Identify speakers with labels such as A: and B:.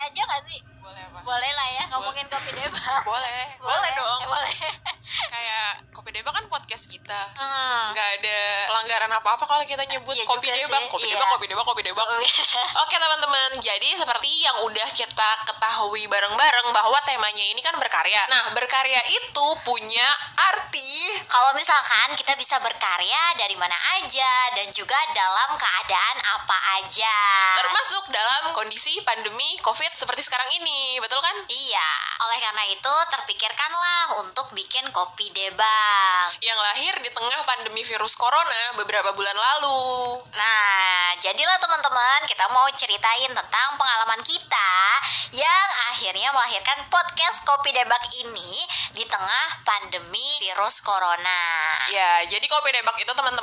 A: aja gak sih?
B: boleh apa
A: Boleh lah ya, ngomongin kopi debat.
B: boleh boleh dong
A: eh, boleh.
B: kayak kopi deba kan podcast kita
A: Hmm.
B: nggak ada pelanggaran apa-apa kalau kita nyebut
A: Iya
B: kopi
A: juga
B: debak
A: sih,
B: kopi
A: iya.
B: debak kopi debak kopi debak oke teman-teman jadi seperti yang udah kita ketahui bareng-bareng bahwa temanya ini kan berkarya nah berkarya itu punya arti
A: Kalau misalkan kita bisa berkarya dari mana aja dan juga dalam keadaan apa aja.
B: termasuk dalam kondisi pandemi covid seperti sekarang ini betul kan
A: Iya, oleh karena itu terpikirkanlah untuk bikin kopi debak.
B: yang lahir di tengah pandemi virus corona beberapa bulan lalu
A: Nah, jadilah teman-teman kita mau ceritain tentang pengalaman kita yang akhirnya melahirkan podcast Kopi Debak ini di tengah pandemi virus corona.
B: ya jadi kopi debak itu teman-teman